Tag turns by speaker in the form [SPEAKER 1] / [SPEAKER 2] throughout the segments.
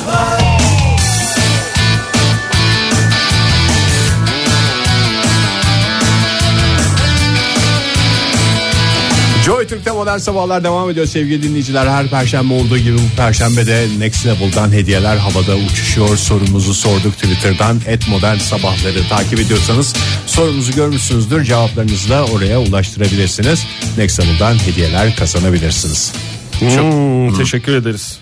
[SPEAKER 1] Sabahlar
[SPEAKER 2] Joy Türk'te modern sabahlar devam ediyor sevgili dinleyiciler. Her perşembe olduğu gibi bu perşembe de Next Level'dan hediyeler havada uçuşuyor. Sorumuzu sorduk Twitter'dan. Et modern sabahları takip ediyorsanız sorumuzu görmüşsünüzdür. Cevaplarınızı da oraya ulaştırabilirsiniz. Next Level'dan hediyeler kazanabilirsiniz.
[SPEAKER 3] Hmm, teşekkür ederiz.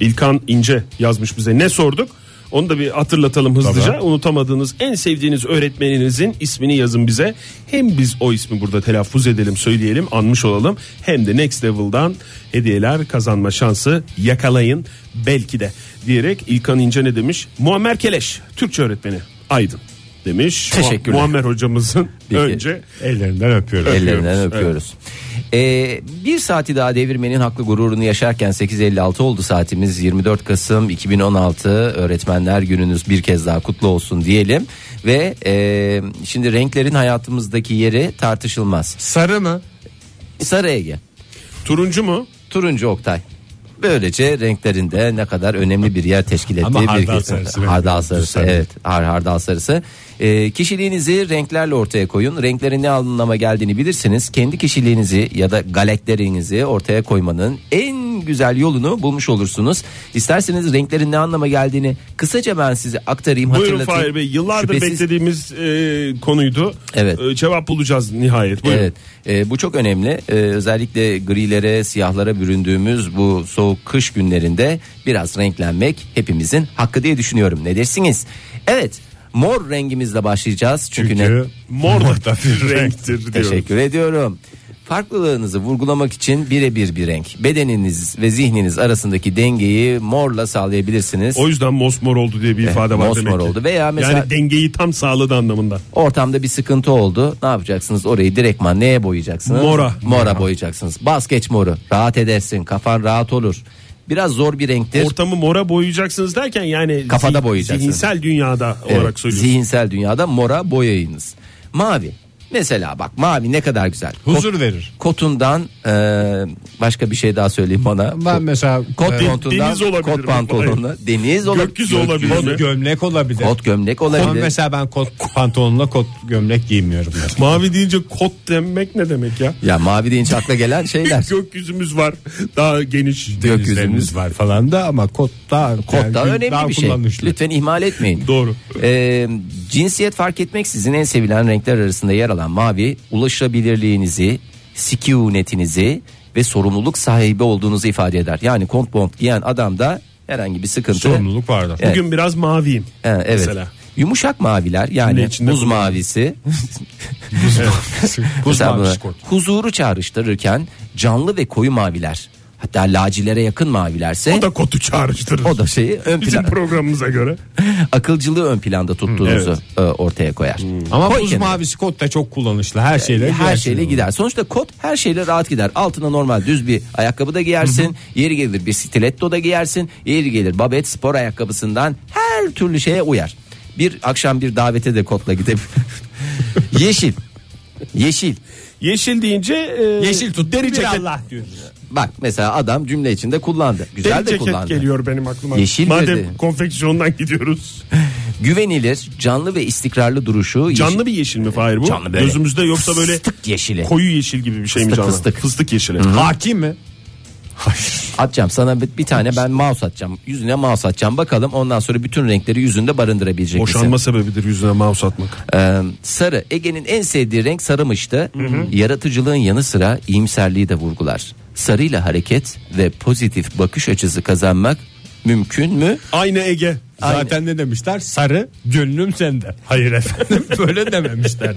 [SPEAKER 3] İlkan İnce yazmış bize. Ne sorduk? Onu da bir hatırlatalım hızlıca.
[SPEAKER 2] Tabii.
[SPEAKER 3] Unutamadığınız en sevdiğiniz öğretmeninizin ismini yazın bize. Hem biz o ismi burada telaffuz edelim, söyleyelim, anmış olalım. Hem de Next Level'dan hediyeler kazanma şansı yakalayın belki de diyerek İlkan İnce ne demiş? Muammer Keleş, Türkçe öğretmeni. Aydın demiş.
[SPEAKER 4] Teşekkürler.
[SPEAKER 3] Muammer hocamızın
[SPEAKER 4] Peki.
[SPEAKER 3] önce
[SPEAKER 2] Ellerinden öpüyorum.
[SPEAKER 4] Ellerinden
[SPEAKER 3] Öpüyoruz,
[SPEAKER 4] öpüyoruz. Ee, bir saati daha devirmenin haklı gururunu yaşarken 8.56 oldu saatimiz. 24 Kasım 2016 öğretmenler gününüz bir kez daha kutlu olsun diyelim. Ve e, şimdi renklerin hayatımızdaki yeri tartışılmaz.
[SPEAKER 5] Sarı mı?
[SPEAKER 4] Sarı Ege,
[SPEAKER 3] turuncu mu?
[SPEAKER 4] turuncu Oktay. Böylece renklerinde ne kadar önemli bir yer teşkil ettiği
[SPEAKER 2] Ama
[SPEAKER 4] bir
[SPEAKER 2] hardal sarısı benim
[SPEAKER 4] hardal
[SPEAKER 2] turuncu
[SPEAKER 4] sarısı
[SPEAKER 2] sarı.
[SPEAKER 4] evet har hardal sarısı. Ee, kişiliğinizi renklerle ortaya koyun. Renklerin ne anlama geldiğini bilirsiniz. Kendi kişiliğinizi ya da galakterinizi ortaya koymanın en güzel yolunu bulmuş olursunuz. İsterseniz renklerin ne anlama geldiğini kısaca ben size aktarayım,
[SPEAKER 3] Buyurun
[SPEAKER 4] hatırlatayım.
[SPEAKER 3] Fahir Bey yıllardır
[SPEAKER 4] Şüphesiz-
[SPEAKER 3] beklediğimiz e, konuydu.
[SPEAKER 4] Evet.
[SPEAKER 3] E, cevap bulacağız nihayet. Buyurun.
[SPEAKER 4] Evet, e, bu çok önemli. E, özellikle grilere, siyahlara büründüğümüz bu soğuk kış günlerinde biraz renklenmek hepimizin hakkı diye düşünüyorum. Ne dersiniz? Evet, mor rengimizle başlayacağız. Çünkü, ne-
[SPEAKER 2] Çünkü
[SPEAKER 3] Mor
[SPEAKER 2] Mor
[SPEAKER 3] da
[SPEAKER 2] da
[SPEAKER 3] bir
[SPEAKER 2] bir
[SPEAKER 3] renktir diyorum.
[SPEAKER 4] Teşekkür ediyorum. Farklılığınızı vurgulamak için birebir bir renk. Bedeniniz ve zihniniz arasındaki dengeyi morla sağlayabilirsiniz.
[SPEAKER 3] O yüzden mosmor oldu diye bir ifade var
[SPEAKER 4] mosmor
[SPEAKER 3] demek ki.
[SPEAKER 4] oldu veya mesela-
[SPEAKER 3] Yani dengeyi tam sağladı anlamında.
[SPEAKER 4] Ortamda bir sıkıntı oldu. Ne yapacaksınız? Orayı direktman neye boyayacaksınız?
[SPEAKER 3] Mora.
[SPEAKER 4] Mora boyayacaksınız. Bas geç moru. Rahat edersin. Kafan rahat olur. Biraz zor bir renktir.
[SPEAKER 3] Ortamı mora boyayacaksınız derken yani
[SPEAKER 4] Kafada
[SPEAKER 3] zihin-
[SPEAKER 4] boyayacaksınız.
[SPEAKER 3] Zihinsel dünyada
[SPEAKER 4] Evet,
[SPEAKER 3] olarak söylüyorsunuz.
[SPEAKER 4] zihinsel dünyada mora boyayınız. Mavi. Mesela bak mavi ne kadar güzel. Kot-
[SPEAKER 2] huzur verir.
[SPEAKER 4] kotundan e, başka bir şey daha söyleyeyim bana.
[SPEAKER 2] Ben mesela
[SPEAKER 4] Kot
[SPEAKER 2] e,
[SPEAKER 4] montundan,
[SPEAKER 3] deniz olabilir mi?
[SPEAKER 4] kot pantolonuna, deniz olabilir.
[SPEAKER 3] Gökyüzü olabilir mi?
[SPEAKER 2] kot gömlek olabilir.
[SPEAKER 4] Kot gömlek olabilir.
[SPEAKER 2] Ama mesela ben kot pantolonla kot gömlek giymiyorum.
[SPEAKER 3] Mavi deyince kot demek ne demek ya?
[SPEAKER 4] Ya mavi deyince akla gelen şeyler.
[SPEAKER 3] Gökyüzümüz var. Daha geniş.
[SPEAKER 4] Gökyüzümüz
[SPEAKER 2] Denizlerimiz var falan da ama kot da
[SPEAKER 4] Kod da
[SPEAKER 2] yani
[SPEAKER 4] önemli
[SPEAKER 2] daha
[SPEAKER 4] bir şey.
[SPEAKER 2] kullanışlı.
[SPEAKER 4] Lütfen ihmal etmeyin.
[SPEAKER 3] Doğru.
[SPEAKER 4] Ee, cinsiyet fark etmeksizin en sevilen renkler arasında yer alan mavi ulaşabilirliğinizi, sükunetinizi ve sorumluluk sahibi olduğunuzu ifade eder. Yani kont bond giyen adamda herhangi bir sıkıntı.
[SPEAKER 2] Sorumluluk vardır.
[SPEAKER 4] Evet.
[SPEAKER 3] Bugün biraz maviyim.
[SPEAKER 4] He, evet.
[SPEAKER 3] Mesela.
[SPEAKER 4] Yumuşak maviler
[SPEAKER 3] Cümle
[SPEAKER 4] yani
[SPEAKER 3] içinde
[SPEAKER 4] buz
[SPEAKER 3] bulunan.
[SPEAKER 4] mavisi
[SPEAKER 2] Buz
[SPEAKER 4] Mesela
[SPEAKER 2] mavisi
[SPEAKER 4] buna
[SPEAKER 2] kot.
[SPEAKER 4] huzuru çağrıştırırken canlı ve koyu maviler hatta lacilere yakın mavilerse
[SPEAKER 3] O da kotu çağrıştırır.
[SPEAKER 4] o da şeyi ön
[SPEAKER 3] Bizim
[SPEAKER 4] plan,
[SPEAKER 3] programımıza göre.
[SPEAKER 4] akılcılığı ön planda tuttuğunuzu e, ortaya koyar.
[SPEAKER 3] Hmm.
[SPEAKER 2] Ama
[SPEAKER 4] Koy
[SPEAKER 2] buz
[SPEAKER 4] kenara.
[SPEAKER 2] mavisi kot da çok kullanışlı. Her şeyle
[SPEAKER 4] her şeyle gider. Sonuçta kot her şeyle rahat gider. Altına normal düz bir ayakkabı da giyersin. Yeri gelir bir stiletto da giyersin. Yeri gelir babet spor ayakkabısından her türlü şeye uyar. Bir akşam bir davete de kotla gidip yeşil. Yeşil.
[SPEAKER 3] Yeşil deyince e,
[SPEAKER 2] Yeşil tut.
[SPEAKER 3] deri
[SPEAKER 2] bir
[SPEAKER 3] ceket.
[SPEAKER 2] Allah diyoruz.
[SPEAKER 4] Bak mesela adam cümle içinde kullandı.
[SPEAKER 3] Deri
[SPEAKER 4] Güzel de
[SPEAKER 3] ceket
[SPEAKER 4] kullandı.
[SPEAKER 3] geliyor benim aklıma.
[SPEAKER 4] Yeşil
[SPEAKER 3] Madem
[SPEAKER 4] dedi.
[SPEAKER 3] konfeksiyondan gidiyoruz.
[SPEAKER 4] Güvenilir, canlı ve istikrarlı duruşu. yeşil-
[SPEAKER 3] Canlı bir yeşil mi Fahir bu?
[SPEAKER 4] Canlı böyle.
[SPEAKER 3] Gözümüzde yoksa böyle
[SPEAKER 4] Fıstık yeşili.
[SPEAKER 3] koyu yeşil gibi bir şey mi
[SPEAKER 4] Fıstık,
[SPEAKER 3] canlı?
[SPEAKER 4] fıstık.
[SPEAKER 3] yeşili.
[SPEAKER 2] Hakim mi?
[SPEAKER 4] Atacağım sana bir, bir tane ben mouse atacağım. Yüzüne mouse atacağım. Bakalım ondan sonra bütün renkleri yüzünde barındırabilecek misin?
[SPEAKER 3] Boşanma sebebidir yüzüne mouse atmak.
[SPEAKER 4] Ee, sarı Ege'nin en sevdiği renk sarımıştı. Yaratıcılığın yanı sıra iyimserliği de vurgular. Sarıyla hareket ve pozitif bakış açısı kazanmak mümkün mü?
[SPEAKER 3] Aynı Ege.
[SPEAKER 2] Zaten ne demişler? Sarı gönlüm sende. Hayır efendim böyle dememişler.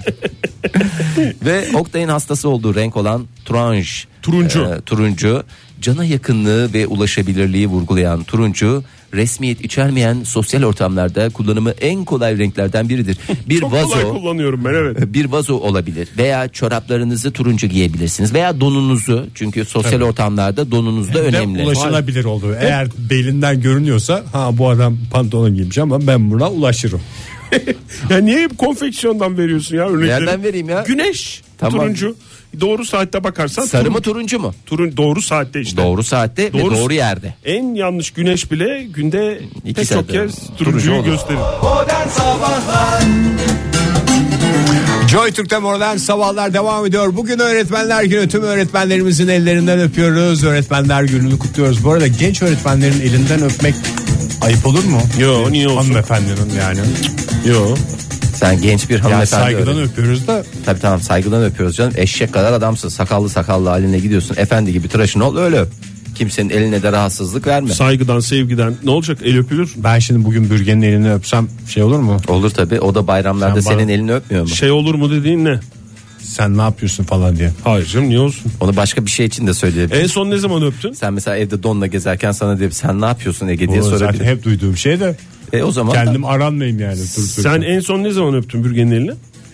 [SPEAKER 4] Ve Oktay'ın hastası olduğu renk olan turanj.
[SPEAKER 3] Turuncu.
[SPEAKER 4] Ee, turuncu. Cana yakınlığı ve ulaşabilirliği vurgulayan turuncu resmiyet içermeyen sosyal ortamlarda kullanımı en kolay renklerden biridir. Bir
[SPEAKER 3] Çok
[SPEAKER 4] vazo.
[SPEAKER 3] kolay kullanıyorum ben evet.
[SPEAKER 4] bir vazo olabilir veya çoraplarınızı turuncu giyebilirsiniz veya donunuzu çünkü sosyal ortamlarda donunuz da
[SPEAKER 2] Önemli.
[SPEAKER 4] önemli.
[SPEAKER 2] ulaşılabilir oldu. Eğer belinden görünüyorsa ha bu adam pantolon giymiş ama ben buna ulaşırım.
[SPEAKER 3] Ya niye hep konfeksiyondan veriyorsun ya örnekleri?
[SPEAKER 4] Nereden vereyim ya?
[SPEAKER 3] Güneş.
[SPEAKER 4] Tamam.
[SPEAKER 3] Turuncu. Doğru saatte bakarsan
[SPEAKER 4] Sarı
[SPEAKER 3] turun-
[SPEAKER 4] mı turuncu mu?
[SPEAKER 3] Turun doğru saatte işte.
[SPEAKER 4] Doğru saatte ve doğru yerde.
[SPEAKER 3] En yanlış güneş bile günde
[SPEAKER 4] İki
[SPEAKER 3] pek çok
[SPEAKER 4] saatte.
[SPEAKER 3] kez
[SPEAKER 4] Turuncu
[SPEAKER 3] turuncuyu
[SPEAKER 4] olur.
[SPEAKER 3] gösterir.
[SPEAKER 2] Joy Türk'te modern sabahlar devam ediyor. Bugün öğretmenler günü tüm öğretmenlerimizin ellerinden öpüyoruz. Öğretmenler gününü kutluyoruz. Bu arada genç öğretmenlerin elinden öpmek ayıp olur mu?
[SPEAKER 3] Yo, niye olsun?
[SPEAKER 2] Hanımefendinin yani.
[SPEAKER 3] Yo.
[SPEAKER 4] Sen genç bir
[SPEAKER 2] Yani
[SPEAKER 4] hanımefendi.
[SPEAKER 2] saygıdan
[SPEAKER 4] öğren.
[SPEAKER 2] öpüyoruz da
[SPEAKER 4] Tabii tamam saygıdan öpüyoruz canım. Eşek kadar adamsın. Sakallı sakallı haline gidiyorsun. Efendi gibi tıraşın ol öyle öp. Kimsenin eline de rahatsızlık verme.
[SPEAKER 3] Saygıdan sevgiden ne olacak el öpülür.
[SPEAKER 2] ben şimdi bugün Bürgen'in elini öpsem şey olur mu?
[SPEAKER 4] Olur tabii. O da bayramlarda
[SPEAKER 2] Sen bana-
[SPEAKER 4] senin elini öpmüyor mu?
[SPEAKER 3] Şey olur mu dediğin ne?
[SPEAKER 2] Sen ne yapıyorsun falan diye.
[SPEAKER 3] Hayır canım niye olsun?
[SPEAKER 4] Onu başka bir şey için de söyleyebilir.
[SPEAKER 3] En son ne zaman öptün?
[SPEAKER 4] Sen mesela evde donla gezerken sana deyip sen ne yapıyorsun Ege diye
[SPEAKER 2] O E- zaten
[SPEAKER 4] sorabilir.
[SPEAKER 2] hep duyduğum şey de
[SPEAKER 4] E o zaman da-
[SPEAKER 2] kendim aranmayayım yani. Dur, dur.
[SPEAKER 3] Sen en son ne zaman öptün bürgenin elini?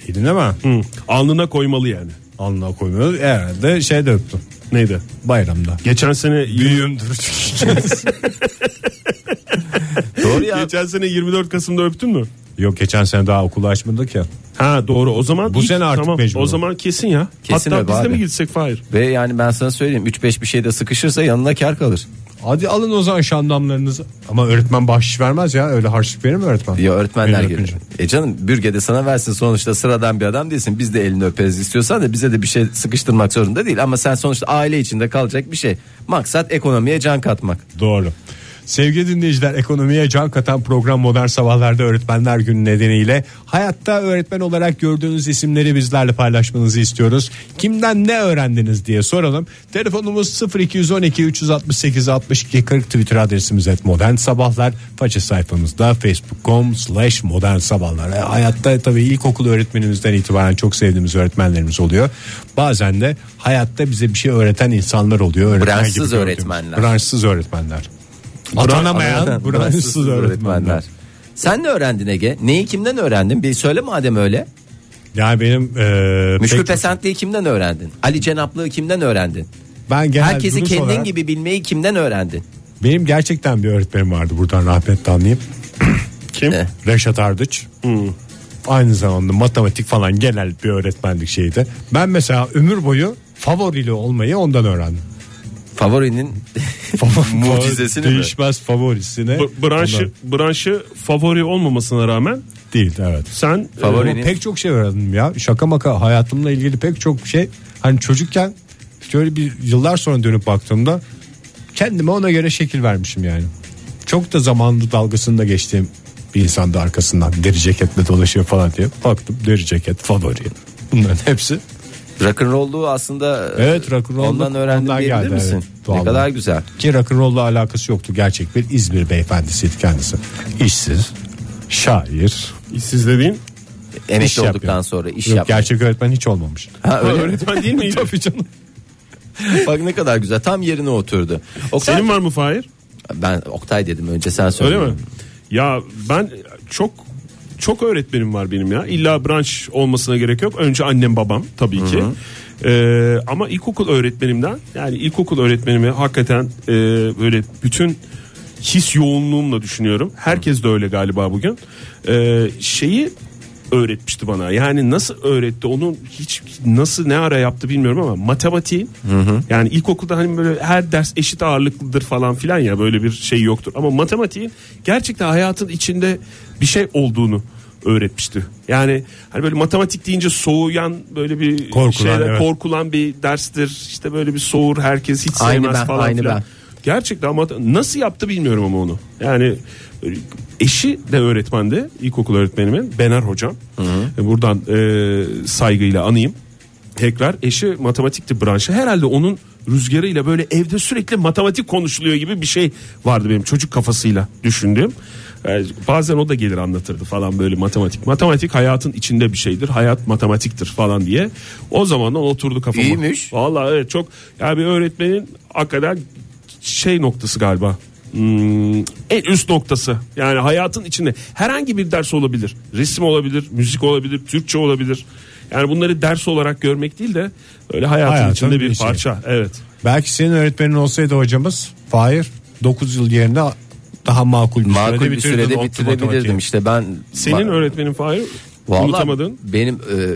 [SPEAKER 2] eline mi?
[SPEAKER 3] Hı. Alnına koymalı yani.
[SPEAKER 2] Alnına koymuyoruz. Herhalde şey de öptüm.
[SPEAKER 3] Neydi?
[SPEAKER 2] Bayramda.
[SPEAKER 3] Geçen sene
[SPEAKER 2] Büyüğümdür.
[SPEAKER 4] doğru ya.
[SPEAKER 3] Geçen sene 24 Kasım'da öptün mü?
[SPEAKER 2] Yok geçen sene daha okulu açmadık ya.
[SPEAKER 3] Ha doğru o zaman
[SPEAKER 2] Bu sene artık
[SPEAKER 3] tamam.
[SPEAKER 2] mecbur.
[SPEAKER 3] O zaman kesin ya.
[SPEAKER 4] Kesin
[SPEAKER 3] Hatta
[SPEAKER 4] öp
[SPEAKER 3] biz de
[SPEAKER 4] abi.
[SPEAKER 3] mi gitsek Fahir?
[SPEAKER 4] Ve yani ben sana söyleyeyim 3-5 bir şeyde sıkışırsa yanına kar kalır.
[SPEAKER 2] Hadi alın o zaman şandamlarınızı. Ama öğretmen bahşiş vermez ya. Öyle harçlık verir mi öğretmen?
[SPEAKER 4] Ya öğretmenler
[SPEAKER 2] Elini
[SPEAKER 4] gelir.
[SPEAKER 2] öpünce.
[SPEAKER 4] E canım bürgede sana versin sonuçta sıradan bir adam değilsin. Biz de elini öperiz istiyorsan da bize de bir şey sıkıştırmak zorunda değil. Ama sen sonuçta aile içinde kalacak bir şey. Maksat ekonomiye can katmak.
[SPEAKER 2] Doğru. Sevgili dinleyiciler ekonomiye can katan program Modern Sabahlar'da Öğretmenler Günü nedeniyle hayatta öğretmen olarak gördüğünüz isimleri bizlerle paylaşmanızı istiyoruz. Kimden ne öğrendiniz diye soralım. Telefonumuz 0212 368 62 40 Twitter adresimiz et Modern Sabahlar. Faça sayfamızda facebook.com slash Modern Sabahlar. E, Hayatta tabii ilkokul öğretmenimizden itibaren çok sevdiğimiz öğretmenlerimiz oluyor. Bazen de hayatta bize bir şey öğreten insanlar oluyor. Öğretmen gibi
[SPEAKER 4] Branşsız
[SPEAKER 2] gördüğümüz.
[SPEAKER 4] öğretmenler.
[SPEAKER 2] Branşsız öğretmenler. Atanamayan branşsız öğretmenler.
[SPEAKER 4] Sen ne öğrendin Ege? Neyi kimden öğrendin? Bir söyle madem öyle.
[SPEAKER 2] Yani benim e,
[SPEAKER 4] Müşkül
[SPEAKER 2] pek-
[SPEAKER 4] pesentliği kimden öğrendin? Ali Cenaplığı kimden öğrendin?
[SPEAKER 2] ben genel
[SPEAKER 4] Herkesi
[SPEAKER 2] duruş
[SPEAKER 4] kendin
[SPEAKER 2] olarak-
[SPEAKER 4] gibi bilmeyi kimden öğrendin?
[SPEAKER 2] Benim gerçekten bir öğretmenim vardı buradan rahmetli anlayayım.
[SPEAKER 3] Kim?
[SPEAKER 4] Ne?
[SPEAKER 2] Reşat Ardıç.
[SPEAKER 4] Hmm.
[SPEAKER 2] Aynı zamanda matematik falan genel bir öğretmenlik şeydi. Ben mesela ömür boyu favorili olmayı ondan öğrendim.
[SPEAKER 4] Favorinin mucizesini mi?
[SPEAKER 2] Değişmez favorisini.
[SPEAKER 3] B- branşı,
[SPEAKER 2] ondan-
[SPEAKER 3] branşı favori olmamasına rağmen
[SPEAKER 2] değil evet.
[SPEAKER 3] sen e,
[SPEAKER 4] Favori-
[SPEAKER 2] Ama pek çok şey öğrendim ya. Şaka maka hayatımla ilgili pek çok şey. Hani çocukken şöyle bir yıllar sonra dönüp baktığımda kendime ona göre şekil vermişim yani. Çok da zamanlı dalgasında geçtiğim bir insandı arkasından deri ceketle dolaşıyor falan diye. Baktım deri ceket favori. Bunların hepsi.
[SPEAKER 4] Rock'n'roll'luğu aslında
[SPEAKER 2] Evet rock'n'roll.
[SPEAKER 4] ondan öğrendim diyebilir misin? ne kadar güzel.
[SPEAKER 2] Ki rock'n'roll'la alakası yoktu. Gerçek bir İzmir beyefendisiydi kendisi. İşsiz, şair.
[SPEAKER 3] işsiz dediğin
[SPEAKER 4] Emekli
[SPEAKER 2] iş
[SPEAKER 4] olduktan
[SPEAKER 2] yapıyor.
[SPEAKER 4] sonra iş
[SPEAKER 2] Yok,
[SPEAKER 4] yap.
[SPEAKER 2] Gerçek öğretmen hiç olmamış.
[SPEAKER 4] Ha, öyle mi?
[SPEAKER 3] öğretmen değil miydi?
[SPEAKER 2] Tabii canım.
[SPEAKER 4] Bak ne kadar güzel. Tam yerine oturdu. Oktay,
[SPEAKER 3] Senin var mı Fahir?
[SPEAKER 4] ben Oktay dedim önce sen söyle.
[SPEAKER 3] Öyle mi? Ya ben çok çok öğretmenim var benim ya. İlla branş olmasına gerek yok. Önce annem babam tabii ki. Ee, ama ilkokul öğretmenimden yani ilkokul öğretmenimi hakikaten e, böyle bütün his yoğunluğumla düşünüyorum. Herkes de öyle galiba bugün. Ee, şeyi öğretmişti bana. Yani nasıl öğretti onun hiç nasıl ne ara yaptı bilmiyorum ama matematiği yani ilkokulda hani böyle her ders eşit ağırlıklıdır falan filan ya böyle bir şey yoktur. Ama matematiğin gerçekten hayatın içinde bir şey olduğunu öğretmişti. Yani hani böyle matematik deyince soğuyan böyle bir
[SPEAKER 2] Korkulan,
[SPEAKER 3] şeyler,
[SPEAKER 2] evet.
[SPEAKER 3] korkulan bir derstir. İşte böyle bir soğur herkes hiç
[SPEAKER 4] Aynı
[SPEAKER 3] sevmez
[SPEAKER 4] ben,
[SPEAKER 3] falan
[SPEAKER 4] aynı
[SPEAKER 3] filan.
[SPEAKER 4] ben.
[SPEAKER 3] Gerçekten ama nasıl yaptı bilmiyorum ama onu. Yani eşi de öğretmendi. ilkokul öğretmenimin Bener hocam. Buradan e, saygıyla anayım. Tekrar eşi matematikti branşı. Herhalde onun rüzgarıyla böyle evde sürekli matematik konuşuluyor gibi bir şey vardı benim çocuk kafasıyla düşündüğüm. E, bazen o da gelir anlatırdı falan böyle matematik. Matematik hayatın içinde bir şeydir. Hayat matematiktir falan diye. O zamandan oturdu kafama.
[SPEAKER 4] İyiymiş.
[SPEAKER 3] Vallahi evet çok yani bir öğretmenin hakikaten şey noktası galiba. Hmm, en üst noktası yani hayatın içinde herhangi bir ders olabilir resim olabilir müzik olabilir Türkçe olabilir yani bunları ders olarak görmek değil de öyle hayatın
[SPEAKER 2] Hayatın
[SPEAKER 3] içinde bir,
[SPEAKER 2] bir şey.
[SPEAKER 3] parça evet
[SPEAKER 2] Belki senin öğretmenin olsaydı hocamız Fahir 9 yıl yerine daha makul bir
[SPEAKER 4] Makul bir
[SPEAKER 2] bitirdin
[SPEAKER 4] sürede
[SPEAKER 2] optik
[SPEAKER 4] bitirebilirdim
[SPEAKER 2] matematiği.
[SPEAKER 4] işte ben
[SPEAKER 3] senin
[SPEAKER 4] Ma-
[SPEAKER 3] öğretmenin Fahir
[SPEAKER 4] Vallahi
[SPEAKER 3] Unutamadın?
[SPEAKER 4] Benim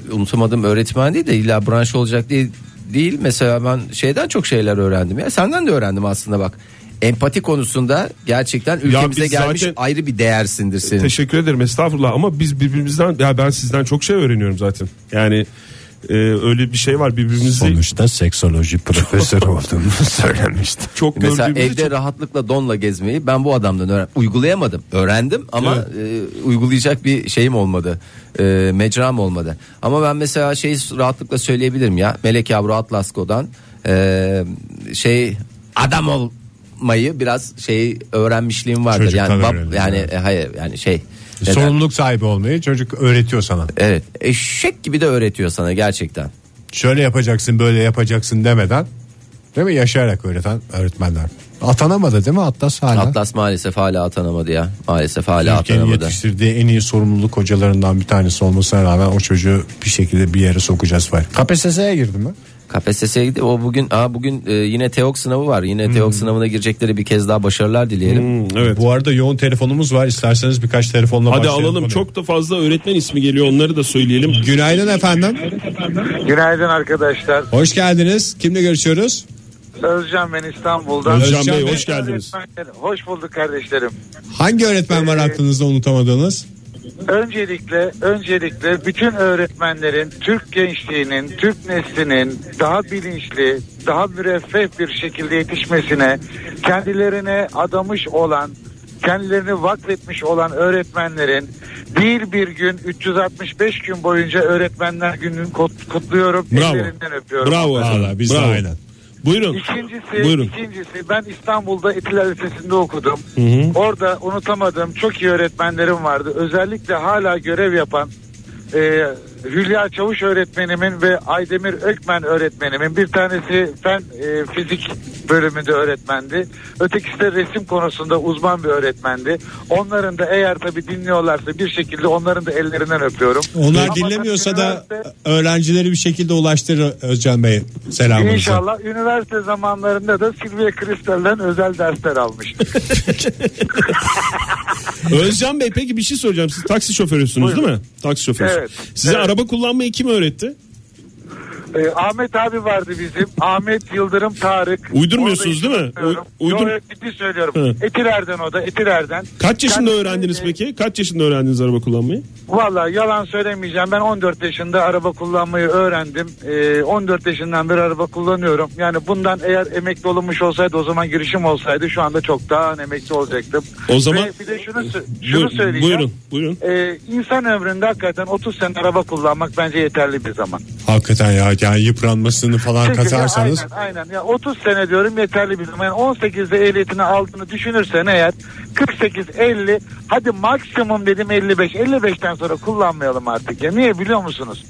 [SPEAKER 4] e, unutamadığım öğretmen değil de illa branş olacak değil değil. Mesela ben şeyden çok şeyler öğrendim ya. Senden de öğrendim aslında bak. Empati konusunda gerçekten ülkemize
[SPEAKER 3] biz
[SPEAKER 4] gelmiş
[SPEAKER 3] zaten-
[SPEAKER 4] ayrı bir değersindir senin.
[SPEAKER 3] Teşekkür ederim estağfurullah ama biz birbirimizden ya ben sizden çok şey öğreniyorum zaten. Yani e, öyle bir şey var birbirimizi
[SPEAKER 2] Sonuçta seksoloji profesörü olduğunu söylemişti.
[SPEAKER 3] çok
[SPEAKER 4] Mesela
[SPEAKER 3] gördüğümüzü
[SPEAKER 4] evde rahatlıkla donla gezmeyi ben bu adamdan öğren uygulayamadım. Öğrendim ama e, uygulayacak bir şeyim olmadı. E, mecram olmadı. Ama ben mesela şey rahatlıkla söyleyebilirim ya. Melek Yavru Atlasko'dan e, şey adam olmayı biraz şey öğrenmişliğim vardır.
[SPEAKER 2] Çocuktan
[SPEAKER 4] yani bab-
[SPEAKER 2] öğrendin,
[SPEAKER 4] yani
[SPEAKER 2] evet. E,
[SPEAKER 4] e, hayır yani şey neden?
[SPEAKER 2] Sorumluluk sahibi olmayı çocuk öğretiyor sana.
[SPEAKER 4] Evet. Eşek gibi de öğretiyor sana gerçekten.
[SPEAKER 2] Şöyle yapacaksın böyle yapacaksın demeden değil mi yaşayarak öğreten öğretmenler. Atanamadı değil mi Atlas hala?
[SPEAKER 4] Atlas maalesef hala atanamadı ya. Maalesef hala
[SPEAKER 2] Ülkenin
[SPEAKER 4] atanamadı.
[SPEAKER 2] yetiştirdiği en iyi sorumluluk hocalarından bir tanesi olmasına rağmen o çocuğu bir şekilde bir yere sokacağız var. KPSS'ye girdi mi?
[SPEAKER 4] KPSS'ye gitti. O bugün aa bugün e, yine TEOK sınavı var. Yine
[SPEAKER 2] Hmm.
[SPEAKER 4] TEOK sınavına girecekleri bir kez daha başarılar dileyelim.
[SPEAKER 3] Hmm, evet.
[SPEAKER 2] Bu arada yoğun telefonumuz var. İsterseniz birkaç telefonla
[SPEAKER 3] Hadi
[SPEAKER 2] başlayalım.
[SPEAKER 3] alalım.
[SPEAKER 2] konuya.
[SPEAKER 3] Çok da fazla öğretmen ismi geliyor. Onları da söyleyelim.
[SPEAKER 2] Günaydın efendim.
[SPEAKER 1] Günaydın arkadaşlar.
[SPEAKER 2] Hoş geldiniz. Kimle görüşüyoruz?
[SPEAKER 1] Özcan ben İstanbul'dan.
[SPEAKER 2] Özcan
[SPEAKER 3] Özcan Bey
[SPEAKER 2] Bey.
[SPEAKER 3] hoş geldiniz.
[SPEAKER 1] Öğretmenlerim, Hoş bulduk kardeşlerim.
[SPEAKER 2] Hangi öğretmen var aklınızda unutamadığınız?
[SPEAKER 1] Öncelikle öncelikle bütün öğretmenlerin Türk gençliğinin, Türk neslinin daha bilinçli, daha müreffeh bir şekilde yetişmesine, kendilerine adamış olan, kendilerini vakfetmiş olan öğretmenlerin değil bir gün 365 gün boyunca öğretmenler gününü kut- kutluyorum.
[SPEAKER 3] Bravo.
[SPEAKER 1] Ellerinden öpüyorum.
[SPEAKER 3] Bravo. efendim.
[SPEAKER 2] Valla biz de
[SPEAKER 3] Bravo.
[SPEAKER 2] aynen.
[SPEAKER 3] Buyurun.
[SPEAKER 1] İkincisi,
[SPEAKER 3] Buyurun.
[SPEAKER 1] ikincisi ben İstanbul'da Etiler Lisesi'nde okudum. Orada unutamadığım çok iyi öğretmenlerim vardı. Özellikle hala görev yapan e, Hülya Çavuş öğretmenimin ve Aydemir Ökmen öğretmenimin bir tanesi fen e, fizik bölümünde öğretmendi. Ötekisi de resim konusunda uzman bir öğretmendi. Onların da eğer tabii dinliyorlarsa bir şekilde onların da ellerinden öpüyorum.
[SPEAKER 2] Onlar
[SPEAKER 1] Ama
[SPEAKER 2] dinlemiyorsa da
[SPEAKER 1] üniversite-
[SPEAKER 2] öğrencileri bir şekilde ulaştırır Özcan Bey. Selamınızı.
[SPEAKER 1] İnşallah üniversite zamanlarında da Silvia Kristal'den özel dersler almıştım.
[SPEAKER 3] Özcan Bey peki bir şey soracağım. Siz taksi şoförüsünüz değil mi? Taksi şoförüsü.
[SPEAKER 1] Evet.
[SPEAKER 3] Size
[SPEAKER 1] Evet.
[SPEAKER 3] araba kullanmayı kim öğretti?
[SPEAKER 1] Ee, Ahmet abi vardı bizim. Ahmet Yıldırım Tarık.
[SPEAKER 3] Uydurmuyorsunuz değil mi?
[SPEAKER 1] Uy,
[SPEAKER 3] Uy- uydur-
[SPEAKER 1] Yok ciddi söylüyorum.
[SPEAKER 3] Hı.
[SPEAKER 1] Etilerden o da Etilerden.
[SPEAKER 3] Kaç yaşında
[SPEAKER 1] Kendisi-
[SPEAKER 3] öğrendiniz peki? Kaç yaşında öğrendiniz araba kullanmayı?
[SPEAKER 1] Valla yalan söylemeyeceğim. Ben 14 yaşında araba kullanmayı öğrendim. Ee, 14 yaşından beri araba kullanıyorum. Yani bundan eğer emekli olunmuş olsaydı o zaman girişim olsaydı şu anda çok daha emekli olacaktım.
[SPEAKER 3] O zaman-
[SPEAKER 1] Ve bir de şunu, sö- şunu
[SPEAKER 3] Buyur-
[SPEAKER 1] söyleyeceğim.
[SPEAKER 3] buyurun. Buyurun.
[SPEAKER 1] Ee, insan ömründe hakikaten 30 sene araba kullanmak bence yeterli bir zaman.
[SPEAKER 2] Hakikaten ya yani yıpranmasını falan
[SPEAKER 1] Çünkü
[SPEAKER 2] katarsanız.
[SPEAKER 1] ya aynen, aynen. Ya 30 sene diyorum yeterli bir zaman. Yani 18'de ehliyetini aldığını düşünürsen eğer 48 50 hadi maksimum dedim 55. 55'ten sonra kullanmayalım artık ya. Niye biliyor musunuz?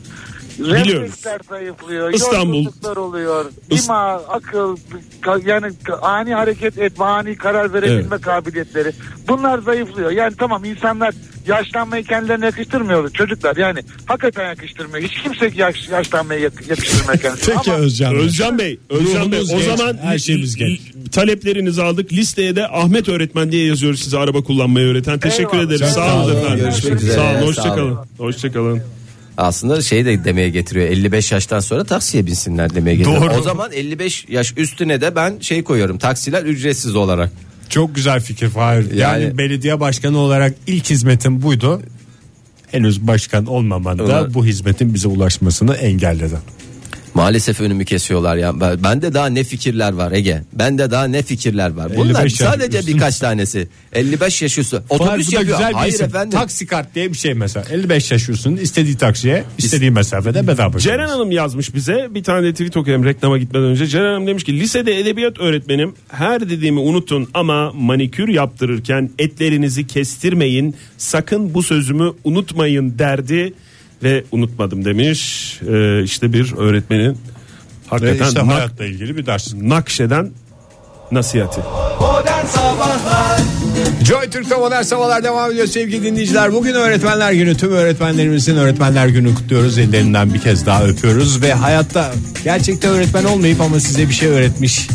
[SPEAKER 3] Biliyoruz.
[SPEAKER 1] Refleksler zayıflıyor.
[SPEAKER 3] İstanbul.
[SPEAKER 1] yorgunluklar oluyor.
[SPEAKER 3] İst-
[SPEAKER 1] İma, akıl, ka- yani ka- ani hareket etme, ani karar verebilme kabiliyetleri. Bunlar zayıflıyor. Yani tamam insanlar yaşlanmayı kendilerine yakıştırmıyor çocuklar. Yani hakikaten yakıştırmıyor. Hiç kimse yaş, yaşlanmayı yak- yakıştırmıyor kendisine.
[SPEAKER 2] Peki
[SPEAKER 1] Ama-
[SPEAKER 2] Özcan Bey.
[SPEAKER 3] Özcan Bey, Özcan Bey
[SPEAKER 2] Ruhumuz
[SPEAKER 3] o
[SPEAKER 2] genç,
[SPEAKER 3] zaman
[SPEAKER 2] her şeyimiz genç.
[SPEAKER 3] taleplerinizi aldık. Listeye de Ahmet öğretmen diye yazıyoruz size araba kullanmayı öğreten. Teşekkür
[SPEAKER 1] Eyvallah.
[SPEAKER 3] ederim.
[SPEAKER 1] Çok
[SPEAKER 3] Sağ
[SPEAKER 4] sağ
[SPEAKER 3] olun
[SPEAKER 4] olun.
[SPEAKER 3] efendim.
[SPEAKER 4] Görüşmek
[SPEAKER 3] Sağ olun.
[SPEAKER 4] üzere. Sağ olun.
[SPEAKER 3] Hoşçakalın. Hoşçakalın.
[SPEAKER 4] Aslında şey de demeye getiriyor. 55 yaştan sonra taksiye binsinler demeye getiriyor. O zaman 55 yaş üstüne de ben şey koyuyorum. Taksiler ücretsiz olarak.
[SPEAKER 2] Çok güzel fikir Fahir. Yani,
[SPEAKER 4] Yani-
[SPEAKER 2] belediye başkanı olarak ilk hizmetim buydu. Henüz başkan olmaman da
[SPEAKER 4] Evet.
[SPEAKER 2] bu hizmetin bize ulaşmasını engelledi.
[SPEAKER 4] Maalesef önümü kesiyorlar ya. Ben- Bende daha ne fikirler var Ege. Bende daha ne fikirler var. Bunlar
[SPEAKER 2] 55 yaş
[SPEAKER 4] sadece
[SPEAKER 2] üstü.
[SPEAKER 4] birkaç tanesi. 55 yaş üstü. Otobüs
[SPEAKER 2] Fahir, bu da
[SPEAKER 4] yapıyor.
[SPEAKER 2] güzel bir
[SPEAKER 4] Hayır
[SPEAKER 2] isim.
[SPEAKER 4] efendim.
[SPEAKER 2] Taksi kart diye bir şey mesela. 55 yaşıyorsun istediği taksiye istediği mesafede bedava.
[SPEAKER 3] Ceren Hanım yazmış bize bir tane de tweet okuyayım reklama gitmeden önce. Ceren Hanım demiş ki lisede edebiyat öğretmenim her dediğimi unutun ama manikür yaptırırken etlerinizi kestirmeyin sakın bu sözümü unutmayın derdi ve unutmadım demiş. Ee, işte bir öğretmenin
[SPEAKER 2] Ve
[SPEAKER 3] hakikaten
[SPEAKER 2] işte
[SPEAKER 3] nak-
[SPEAKER 2] hayatla ilgili bir ders.
[SPEAKER 3] nakşeden nasihati.
[SPEAKER 2] Joy Türk'te modern sabahlar devam ediyor sevgili dinleyiciler. Bugün öğretmenler günü tüm öğretmenlerimizin öğretmenler günü kutluyoruz. Ellerinden bir kez daha öpüyoruz ve hayatta gerçekten öğretmen olmayıp ama size bir şey öğretmiş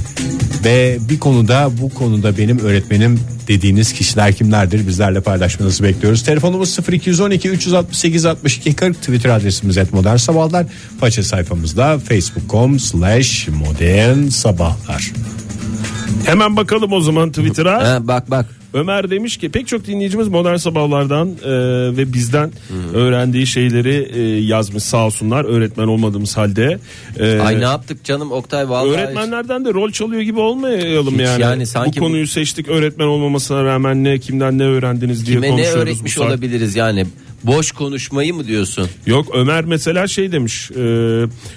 [SPEAKER 2] Ve bir konuda bu konuda benim öğretmenim dediğiniz kişiler kimlerdir bizlerle paylaşmanızı bekliyoruz. Telefonumuz 0212 368 62 40 Twitter adresimiz et modern sabahlar. Faça sayfamızda facebook.com slash modern sabahlar.
[SPEAKER 3] Hemen bakalım o zaman Twitter'a.
[SPEAKER 4] Ha, bak bak.
[SPEAKER 3] Ömer demiş ki pek çok dinleyicimiz modern sabahlardan e, ve bizden öğrendiği şeyleri e, yazmış sağ olsunlar öğretmen olmadığımız halde. E,
[SPEAKER 4] Ay ne yaptık canım Oktay vallahi.
[SPEAKER 3] Öğretmenlerden de rol çalıyor gibi olmayalım
[SPEAKER 4] Hiç
[SPEAKER 3] yani.
[SPEAKER 4] yani sanki
[SPEAKER 3] bu konuyu seçtik öğretmen olmamasına rağmen ne kimden ne öğrendiniz diye
[SPEAKER 4] Kime ne
[SPEAKER 3] konuşuyoruz. bu
[SPEAKER 4] öğretmiş
[SPEAKER 3] saat.
[SPEAKER 4] olabiliriz yani? Boş konuşmayı mı diyorsun?
[SPEAKER 3] Yok Ömer mesela şey demiş. E,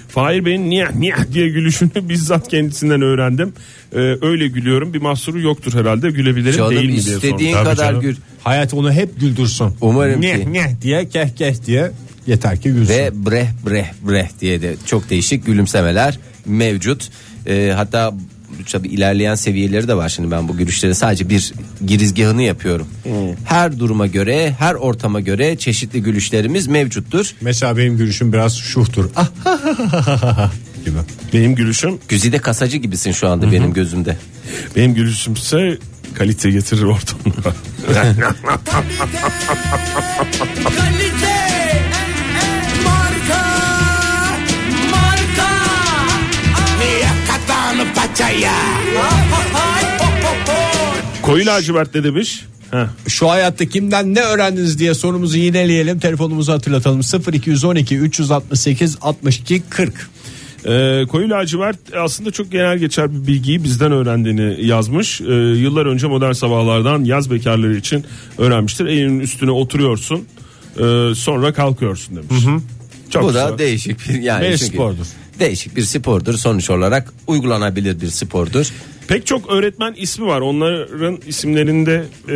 [SPEAKER 3] Fahir Bey'in niye niye diye gülüşünü bizzat kendisinden öğrendim. E, öyle gülüyorum bir mahsuru yoktur herhalde gülebilirim
[SPEAKER 4] Canım
[SPEAKER 3] değil mi diye sormuş.
[SPEAKER 4] istediğin
[SPEAKER 3] Tabii
[SPEAKER 4] kadar
[SPEAKER 3] canım.
[SPEAKER 4] gül.
[SPEAKER 2] Hayat onu hep güldürsün.
[SPEAKER 4] Umarım ki.
[SPEAKER 2] Ne ne diye keh keh diye yeter ki gülsün.
[SPEAKER 4] Ve breh breh breh diye de çok değişik gülümsemeler mevcut. Ee, hatta tabii ilerleyen seviyeleri de var şimdi ben bu gülüşlerin sadece bir girizgahını yapıyorum. Her duruma göre, her ortama göre çeşitli gülüşlerimiz mevcuttur.
[SPEAKER 2] Mesela benim gülüşüm biraz şuhtur. Ah gibi.
[SPEAKER 3] Benim gülüşüm
[SPEAKER 4] Güzide kasacı gibisin şu anda benim gözümde.
[SPEAKER 3] Benim gülüşümse kalite getirir ortamına.
[SPEAKER 5] Kalite marka marka
[SPEAKER 6] Yakatağını paçaya
[SPEAKER 3] Koyu lacivert ne demiş? Heh.
[SPEAKER 2] Şu hayatta kimden ne öğrendiniz diye sorumuzu yineleyelim. Telefonumuzu hatırlatalım. 0212 368 62 40.
[SPEAKER 3] Ee, koyu lacivert aslında çok genel geçer bir bilgiyi bizden öğrendiğini yazmış. Ee, yıllar önce modern sabahlardan yaz bekarları için öğrenmiştir. Elinin üstüne oturuyorsun ee, sonra kalkıyorsun demiş. Çok
[SPEAKER 4] Bu
[SPEAKER 3] güzel.
[SPEAKER 4] da değişik bir yani
[SPEAKER 2] Bir
[SPEAKER 4] çünkü
[SPEAKER 2] spordur.
[SPEAKER 4] Değişik bir spordur sonuç olarak uygulanabilir bir spordur.
[SPEAKER 3] Pek çok öğretmen ismi var. Onların isimlerinde e,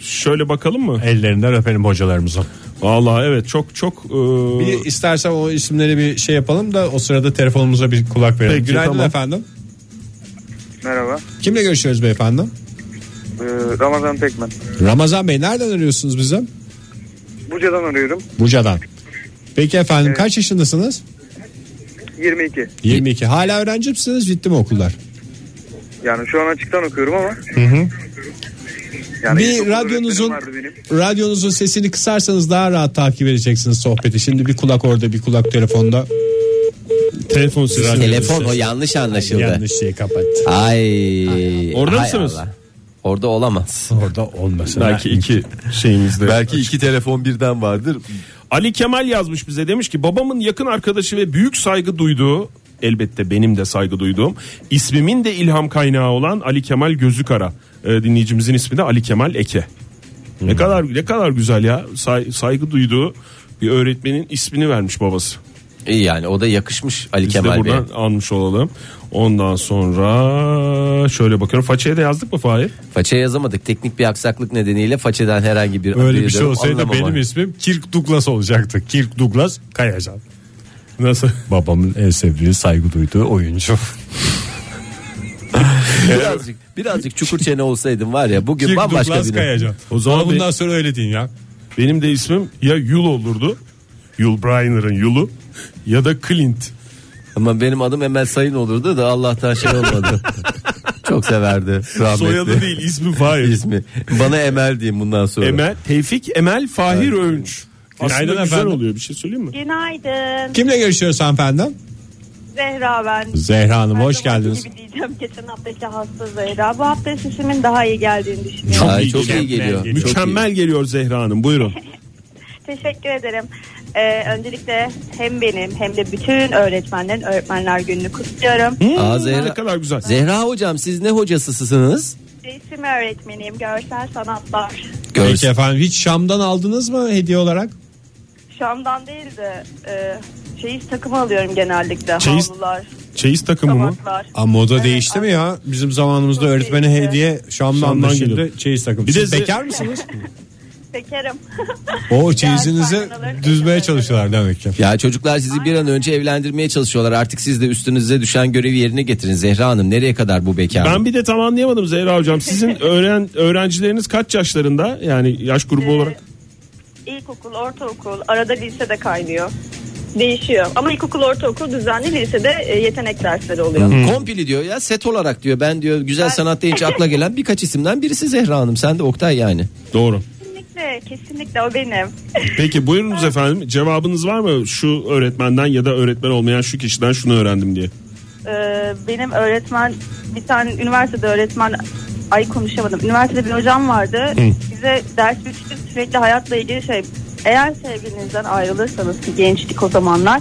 [SPEAKER 3] şöyle bakalım mı?
[SPEAKER 2] Ellerinden öpelim hocalarımıza.
[SPEAKER 3] Vallahi evet çok çok e,
[SPEAKER 2] Bir istersen o isimleri bir şey yapalım da o sırada telefonumuza bir kulak verelim.
[SPEAKER 3] Peki,
[SPEAKER 2] Günaydın
[SPEAKER 3] tamam.
[SPEAKER 2] efendim.
[SPEAKER 7] Merhaba.
[SPEAKER 2] Kimle görüşüyoruz beyefendi?
[SPEAKER 7] Ee, Ramazan Pekmen.
[SPEAKER 2] Ramazan Bey nereden arıyorsunuz bizi?
[SPEAKER 7] Buca'dan arıyorum.
[SPEAKER 2] Buca'dan. Peki efendim kaç yaşındasınız?
[SPEAKER 7] 22.
[SPEAKER 2] 22. Hala öğrenci misiniz? Bitti mi okullar?
[SPEAKER 7] Yani şu an açıktan okuyorum ama. Yani
[SPEAKER 2] bir
[SPEAKER 7] ilkokul
[SPEAKER 2] radyonuzun
[SPEAKER 7] öğretmenim vardı benim.
[SPEAKER 2] radyonuzun sesini kısarsanız daha rahat takip edeceksiniz sohbeti. Şimdi bir kulak orada bir kulak telefonda.
[SPEAKER 3] telefon sesi.
[SPEAKER 4] Telefon o yanlış anlaşıldı.
[SPEAKER 2] Yanlış şey kapat.
[SPEAKER 4] Ay.
[SPEAKER 3] Orada
[SPEAKER 4] hay
[SPEAKER 3] mısınız?
[SPEAKER 4] Allah. Orada olamaz.
[SPEAKER 2] Orada olmasın.
[SPEAKER 3] Belki iki şeyimizde.
[SPEAKER 8] Belki iki telefon birden vardır.
[SPEAKER 3] Ali Kemal yazmış bize demiş ki babamın yakın arkadaşı ve büyük saygı duyduğu elbette benim de saygı duyduğum ismimin de ilham kaynağı olan Ali Kemal Gözükara Ee, dinleyicimizin ismi de Ali Kemal Eke. Ne
[SPEAKER 4] Hmm.
[SPEAKER 3] kadar ne kadar güzel ya Say- saygı duyduğu bir öğretmenin ismini vermiş babası.
[SPEAKER 4] İyi yani o da yakışmış Ali
[SPEAKER 3] Biz de
[SPEAKER 4] Kemal Bey.
[SPEAKER 3] buradan almış olalım. Ondan sonra şöyle bakıyorum. Façeye de yazdık mı Fahir?
[SPEAKER 4] Façaya yazamadık. Teknik bir aksaklık nedeniyle façeden herhangi bir
[SPEAKER 2] Öyle bir
[SPEAKER 4] bir
[SPEAKER 2] şey olsaydı
[SPEAKER 4] anlamam
[SPEAKER 2] benim
[SPEAKER 4] var.
[SPEAKER 2] ismim Kirk Douglas olacaktı. Kirk Douglas Kayacan.
[SPEAKER 3] Nasıl?
[SPEAKER 2] Babamın en sevdiği saygı duyduğu oyuncu.
[SPEAKER 4] birazcık birazcık çukur çene olsaydım var ya bugün
[SPEAKER 2] Kirk
[SPEAKER 4] bambaşka
[SPEAKER 2] Douglas
[SPEAKER 4] bir
[SPEAKER 2] Kayacan. O
[SPEAKER 3] O zaman
[SPEAKER 2] zaman
[SPEAKER 3] be-
[SPEAKER 2] bundan sonra öyle deyin ya.
[SPEAKER 3] Benim de ismim ya Yul olurdu. Yul Brynner'ın Yul'u ya da Clint.
[SPEAKER 4] Ama benim adım Emel Sayın olurdu da Allah'tan şey olmadı. Çok severdi rahmetli.
[SPEAKER 3] Soyadı değil ismi Fahir.
[SPEAKER 4] ismi. Bana Emel diyeyim bundan sonra.
[SPEAKER 3] Emel, Tevfik Emel Fahir Öğünç. Aslında
[SPEAKER 2] Günaydın
[SPEAKER 3] güzel
[SPEAKER 2] efendim.
[SPEAKER 3] oluyor bir şey söyleyeyim mi?
[SPEAKER 9] Günaydın
[SPEAKER 2] Kimle görüşüyoruz hanımefendi?
[SPEAKER 9] Zehra ben.
[SPEAKER 2] Zehra Hanım hoş
[SPEAKER 9] Her zamanki
[SPEAKER 2] geldiniz.
[SPEAKER 9] gibi diyeceğim geçen haftaki hasta Zehra. Bu hafta sesimin daha iyi geldiğini düşünüyorum.
[SPEAKER 4] Ay,
[SPEAKER 3] iyi
[SPEAKER 4] çok
[SPEAKER 3] geliyor.
[SPEAKER 4] iyi geliyor. Çok
[SPEAKER 3] Mükemmel geliyor Zehra Hanım buyurun.
[SPEAKER 9] Teşekkür ederim. Ee, öncelikle hem benim hem de bütün öğretmenlerin öğretmenler gününü kutluyorum.
[SPEAKER 3] Hmm,
[SPEAKER 4] Aa, Zehra-
[SPEAKER 3] Ne kadar güzel.
[SPEAKER 4] Zehra hocam siz ne hocasısınız?
[SPEAKER 9] Resim öğretmeniyim, görsel sanatlar.
[SPEAKER 2] Peki efendim hiç Şam'dan aldınız mı hediye olarak?
[SPEAKER 9] Şam'dan değil de e, çeyiz takımı alıyorum genellikle.
[SPEAKER 3] Çeyiz-
[SPEAKER 9] Havlular,
[SPEAKER 3] Çeyiz takımı mı?
[SPEAKER 9] tabaklar.
[SPEAKER 2] Aa, moda
[SPEAKER 9] Evet,
[SPEAKER 2] değişti mi
[SPEAKER 9] aslında
[SPEAKER 2] ya? Bizim zamanımızda
[SPEAKER 9] Çok
[SPEAKER 2] öğretmene
[SPEAKER 9] değişti.
[SPEAKER 2] hediye Şam'dan da
[SPEAKER 3] Şam'dan
[SPEAKER 2] şimdi
[SPEAKER 3] geliyor.
[SPEAKER 2] çeyiz takımı.
[SPEAKER 3] Bir de
[SPEAKER 2] Siz
[SPEAKER 3] ze-
[SPEAKER 2] bekar mısınız?
[SPEAKER 9] Bekarım.
[SPEAKER 2] o çeyizinizi düzmeye
[SPEAKER 9] karnaları kaçırmadım.
[SPEAKER 2] çalışıyorlar demek ki.
[SPEAKER 4] Ya çocuklar sizi bir an önce evlendirmeye çalışıyorlar. Artık siz de üstünüze düşen görevi yerine getirin. Zehra Hanım nereye kadar bu bekarlık?
[SPEAKER 3] Ben bir de tam anlayamadım Zehra Hocam. Sizin öğren öğrencileriniz kaç
[SPEAKER 9] Ee,
[SPEAKER 3] yaşlarında? Yani yaş grubu olarak.
[SPEAKER 9] İlkokul, ortaokul, arada lise de kaynıyor. değişiyor. Ama ilkokul, ortaokul düzenli lisede e, yetenek dersleri oluyor.
[SPEAKER 4] Hmm. Kompili diyor ya set olarak diyor. Ben diyor güzel sanat deyince akla gelen birkaç isimden birisi Zehra Hanım. Sen de Oktay yani.
[SPEAKER 3] Doğru.
[SPEAKER 9] Kesinlikle, kesinlikle o benim.
[SPEAKER 3] Peki buyurunuz efendim. Cevabınız var mı şu öğretmenden ya da öğretmen olmayan şu kişiden şunu öğrendim diye?
[SPEAKER 9] Ee, benim öğretmen bir tane üniversitede öğretmen ay konuşamadım. Üniversitede bir hocam vardı. Bize ders bitirdi sürekli hayatla ilgili şey eğer sevgilinizden ayrılırsanız ki gençlik o zamanlar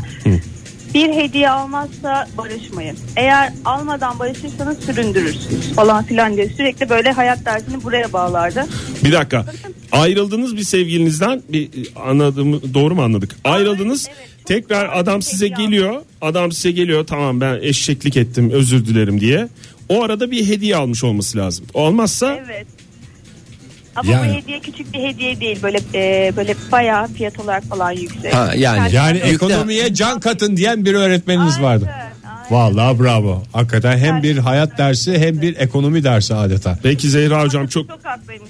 [SPEAKER 9] bir hediye almazsa barışmayın. Eğer almadan barışırsanız süründürürsünüz falan filan diye sürekli böyle hayat dersini buraya bağlardı.
[SPEAKER 3] Bir dakika. Ayrıldınız bir sevgilinizden bir anladığımı doğru mu anladık? Ayrıldınız.
[SPEAKER 9] evet, çok
[SPEAKER 3] Tekrar
[SPEAKER 9] güzel
[SPEAKER 3] adam
[SPEAKER 9] bir
[SPEAKER 3] size
[SPEAKER 9] hediye
[SPEAKER 3] geliyor. Adam size geliyor. Tamam ben eşeklik ettim. Özür dilerim diye. O arada bir hediye almış olması lazım. Olmazsa
[SPEAKER 9] Evet. Ama
[SPEAKER 2] Yani-
[SPEAKER 9] bu hediye küçük bir hediye değil böyle e, böyle bayağı fiyat olarak falan yüksek.
[SPEAKER 4] Ha, yani.
[SPEAKER 2] Yani
[SPEAKER 4] Yükle-
[SPEAKER 2] ekonomiye can katın diyen bir öğretmeniniz vardı.
[SPEAKER 9] aynen.
[SPEAKER 2] Vallahi bravo. Hakikaten hem bir hayat dersi hem bir ekonomi dersi adeta.
[SPEAKER 3] belki Zehra hocam çok
[SPEAKER 9] Çok haklıymış.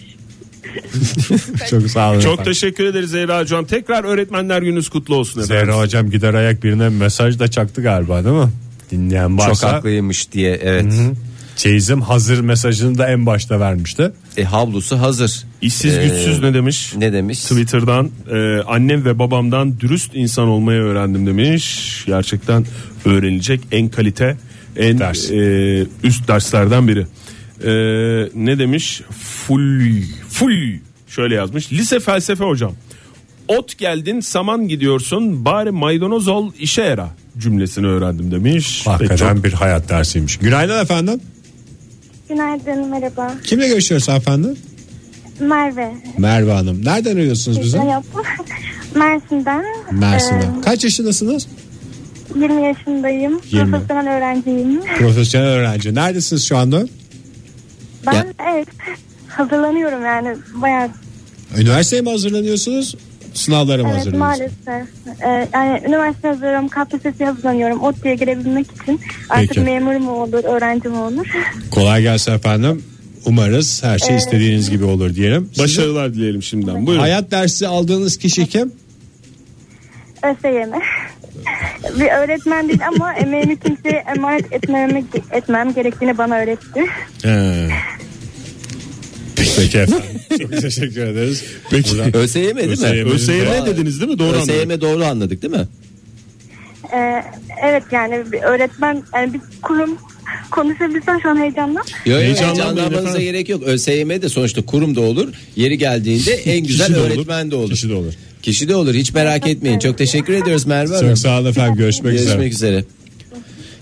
[SPEAKER 2] Çok sağ olun.
[SPEAKER 3] çok
[SPEAKER 2] efendim.
[SPEAKER 3] teşekkür ederiz Zehra hocam. Tekrar öğretmenler gününüz kutlu olsun efendim.
[SPEAKER 2] Zehra hocam gider ayak birine mesaj da çaktı galiba değil mi? Dinleyen
[SPEAKER 4] Çok
[SPEAKER 2] varsa
[SPEAKER 4] haklıymış diye evet.
[SPEAKER 2] çeyizim hazır mesajını da en başta vermişti.
[SPEAKER 4] E, havlusu hazır.
[SPEAKER 3] İşsiz
[SPEAKER 2] e,
[SPEAKER 4] Ee,
[SPEAKER 3] güçsüz ne demiş?
[SPEAKER 4] Ne demiş?
[SPEAKER 3] Twitter'dan e, annem ve babamdan dürüst insan olmayı öğrendim demiş. Gerçekten öğrenilecek en kalite en
[SPEAKER 2] Ders.
[SPEAKER 3] e, üst derslerden biri. E, ne demiş? Full full şöyle yazmış. Lise felsefe hocam. Ot geldin saman gidiyorsun bari maydanoz ol işe yara cümlesini öğrendim demiş. Pek
[SPEAKER 2] Hakikaten
[SPEAKER 3] çok-
[SPEAKER 2] bir hayat dersiymiş. Günaydın efendim.
[SPEAKER 6] Günaydın merhaba.
[SPEAKER 2] Kimle görüşüyoruz efendim?
[SPEAKER 6] Merve.
[SPEAKER 2] Merve Hanım. Nereden arıyorsunuz bizi?
[SPEAKER 6] Merhaba. Mersin'den.
[SPEAKER 2] Mersin'den. Kaç yaşındasınız?
[SPEAKER 6] Ee, 20 yaşındayım.
[SPEAKER 2] 20.
[SPEAKER 6] Profesyonel öğrenciyim.
[SPEAKER 2] Profesyonel öğrenci. Neredesiniz şu anda?
[SPEAKER 6] Ben
[SPEAKER 4] Ya-
[SPEAKER 6] evet hazırlanıyorum yani bayağı
[SPEAKER 2] Üniversiteye mi hazırlanıyorsunuz? Sınavlara mı
[SPEAKER 6] evet
[SPEAKER 2] hazırlanıyorsunuz?
[SPEAKER 6] maalesef. Ee, yani üniversite hazırlıyorum, KPSS'ye hazırlanıyorum. ODTÜ'ye girebilmek için. Artık
[SPEAKER 2] Peki.
[SPEAKER 6] memur mu olur, öğrenci mi olur?
[SPEAKER 2] Kolay gelsin efendim. Umarız her şey istediğiniz gibi olur diyelim. Başarılı.
[SPEAKER 3] Başarılar dileyelim şimdiden. Buyurun.
[SPEAKER 2] Hayat dersi aldığınız kişi kim?
[SPEAKER 6] ÖSYM. Bir öğretmen değil ama emeğimi kimseye emanet etmem, etmem gerektiğini bana öğretti.
[SPEAKER 2] He. Ee, Peki efendim. Çok teşekkür ederiz. Peki.
[SPEAKER 4] ÖSYM değil mi?
[SPEAKER 3] ÖSYM dediniz değil mi? Doğru anladım.
[SPEAKER 4] ÖSYM doğru anladık değil mi?
[SPEAKER 6] Ee, evet yani bir öğretmen yani bir kurum konuşabilsem şu an heyecanla.
[SPEAKER 4] Yok,
[SPEAKER 3] Heyecanlanmayın
[SPEAKER 4] heyecanlanmanıza
[SPEAKER 3] efendim.
[SPEAKER 4] gerek yok. ÖSYM de sonuçta kurum da olur. Yeri geldiğinde en güzel
[SPEAKER 2] de olur,
[SPEAKER 4] öğretmen de olur.
[SPEAKER 2] kişi de olur.
[SPEAKER 4] Kişi de olur. Hiç merak etmeyin. Çok teşekkür ediyoruz Merve Hanım.
[SPEAKER 2] Çok sağ olun efendim. Görüşmek, üzere.
[SPEAKER 4] Görüşmek üzere.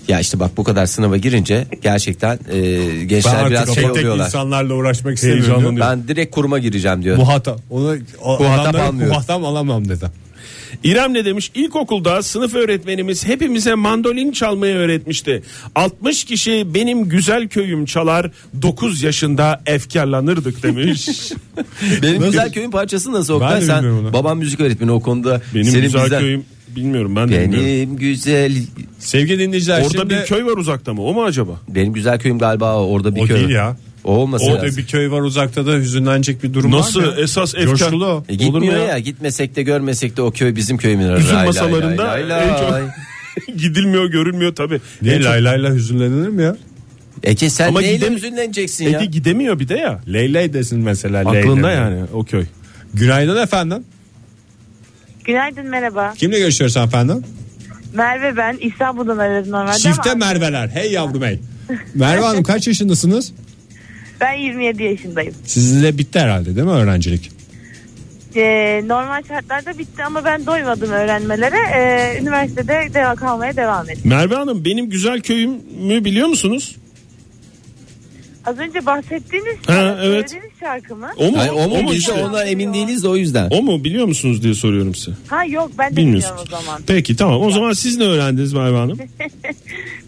[SPEAKER 4] Ya işte bak bu kadar sınava girince gerçekten e,
[SPEAKER 2] Ben
[SPEAKER 4] gençler
[SPEAKER 2] artık
[SPEAKER 4] biraz şey
[SPEAKER 2] tek
[SPEAKER 4] oluyorlar.
[SPEAKER 2] insanlarla uğraşmak istemiyorum.
[SPEAKER 3] Heyecanlanıyorum.
[SPEAKER 4] Ben direkt kuruma gireceğim diyor.
[SPEAKER 2] Muhatap. Onu o
[SPEAKER 4] Muhatap
[SPEAKER 2] adamları
[SPEAKER 4] almıyorum.
[SPEAKER 2] muhatap alamam dedi.
[SPEAKER 3] İrem ne demiş? İlkokulda sınıf öğretmenimiz hepimize mandolin çalmayı öğretmişti. 60 kişi benim güzel köyüm çalar 9 yaşında efkarlanırdık demiş.
[SPEAKER 4] Benim güzel köyün parçası nasıl Oktay?
[SPEAKER 2] de
[SPEAKER 4] Sen
[SPEAKER 2] bilmiyorum onu.
[SPEAKER 4] baban müzik öğretmeni o konuda.
[SPEAKER 3] benim
[SPEAKER 4] senin
[SPEAKER 3] güzel
[SPEAKER 4] bizden-
[SPEAKER 3] köyüm bilmiyorum ben de bilmiyorum.
[SPEAKER 4] Benim güzel
[SPEAKER 2] Sevgili dinleyiciler
[SPEAKER 3] Orada
[SPEAKER 2] şimdi...
[SPEAKER 3] bir köy var uzakta mı? O mu acaba?
[SPEAKER 4] benim güzel köyüm galiba orada bir
[SPEAKER 2] O
[SPEAKER 4] köy.
[SPEAKER 2] değil ya.
[SPEAKER 4] O olmasa
[SPEAKER 2] Orada
[SPEAKER 4] lazım.
[SPEAKER 2] bir köy var uzakta da hüzünlenecek bir durum
[SPEAKER 3] Nasıl?
[SPEAKER 2] var mı?
[SPEAKER 3] Esas efkar-
[SPEAKER 2] Coşkulu o.
[SPEAKER 4] E, gitmiyor
[SPEAKER 3] mu
[SPEAKER 4] ya?
[SPEAKER 3] ya?
[SPEAKER 4] gitmesek de görmesek de o köy bizim köyümüz. Lay
[SPEAKER 3] Üzüm
[SPEAKER 4] lay
[SPEAKER 3] masalarında
[SPEAKER 4] lay lay
[SPEAKER 3] en çok-
[SPEAKER 4] lay.
[SPEAKER 3] Gidilmiyor görülmüyor tabii. En
[SPEAKER 2] Niye
[SPEAKER 3] çok-
[SPEAKER 2] lay lay lay hüzünlenir mi ya?
[SPEAKER 4] Ece sen
[SPEAKER 3] Ama
[SPEAKER 4] neyle
[SPEAKER 3] gidem-
[SPEAKER 4] üzüleneceksin ya?
[SPEAKER 3] Ege gidemiyor bir de ya.
[SPEAKER 2] Lay lay desin mesela. lay
[SPEAKER 3] Aklında
[SPEAKER 2] lay.
[SPEAKER 3] yani o köy.
[SPEAKER 2] Günaydın efendim.
[SPEAKER 9] Günaydın merhaba.
[SPEAKER 2] Kimle görüşüyoruz efendim?
[SPEAKER 9] Merve ben İstanbul'dan aradım normalde
[SPEAKER 2] Çifte
[SPEAKER 9] ama
[SPEAKER 2] Merveler. Hey yavrum hey. Merve Hanım kaç yaşındasınız?
[SPEAKER 9] ben 27 yaşındayım.
[SPEAKER 2] Sizinle bitti herhalde değil mi öğrencilik?
[SPEAKER 9] Ee, normal şartlarda bitti ama ben doymadım öğrenmelere. Ee, üniversitede de kalmaya devam ettim.
[SPEAKER 3] Merve Hanım benim güzel köyümü biliyor musunuz?
[SPEAKER 9] Az önce bahsettiğiniz
[SPEAKER 3] Ha,
[SPEAKER 9] şarkı,
[SPEAKER 3] evet.
[SPEAKER 9] söylediğiniz şarkı mı?
[SPEAKER 3] O mu?
[SPEAKER 4] Ay, o mu? Biz de
[SPEAKER 3] işte?
[SPEAKER 4] ona emin değiliz de o yüzden.
[SPEAKER 3] O mu biliyor musunuz diye soruyorum size.
[SPEAKER 9] Ha yok ben de bilmiyorum
[SPEAKER 3] Bilmiyorsunuz.
[SPEAKER 9] o zaman.
[SPEAKER 3] Peki tamam. O zaman siz ne öğrendiniz Merve Hanım?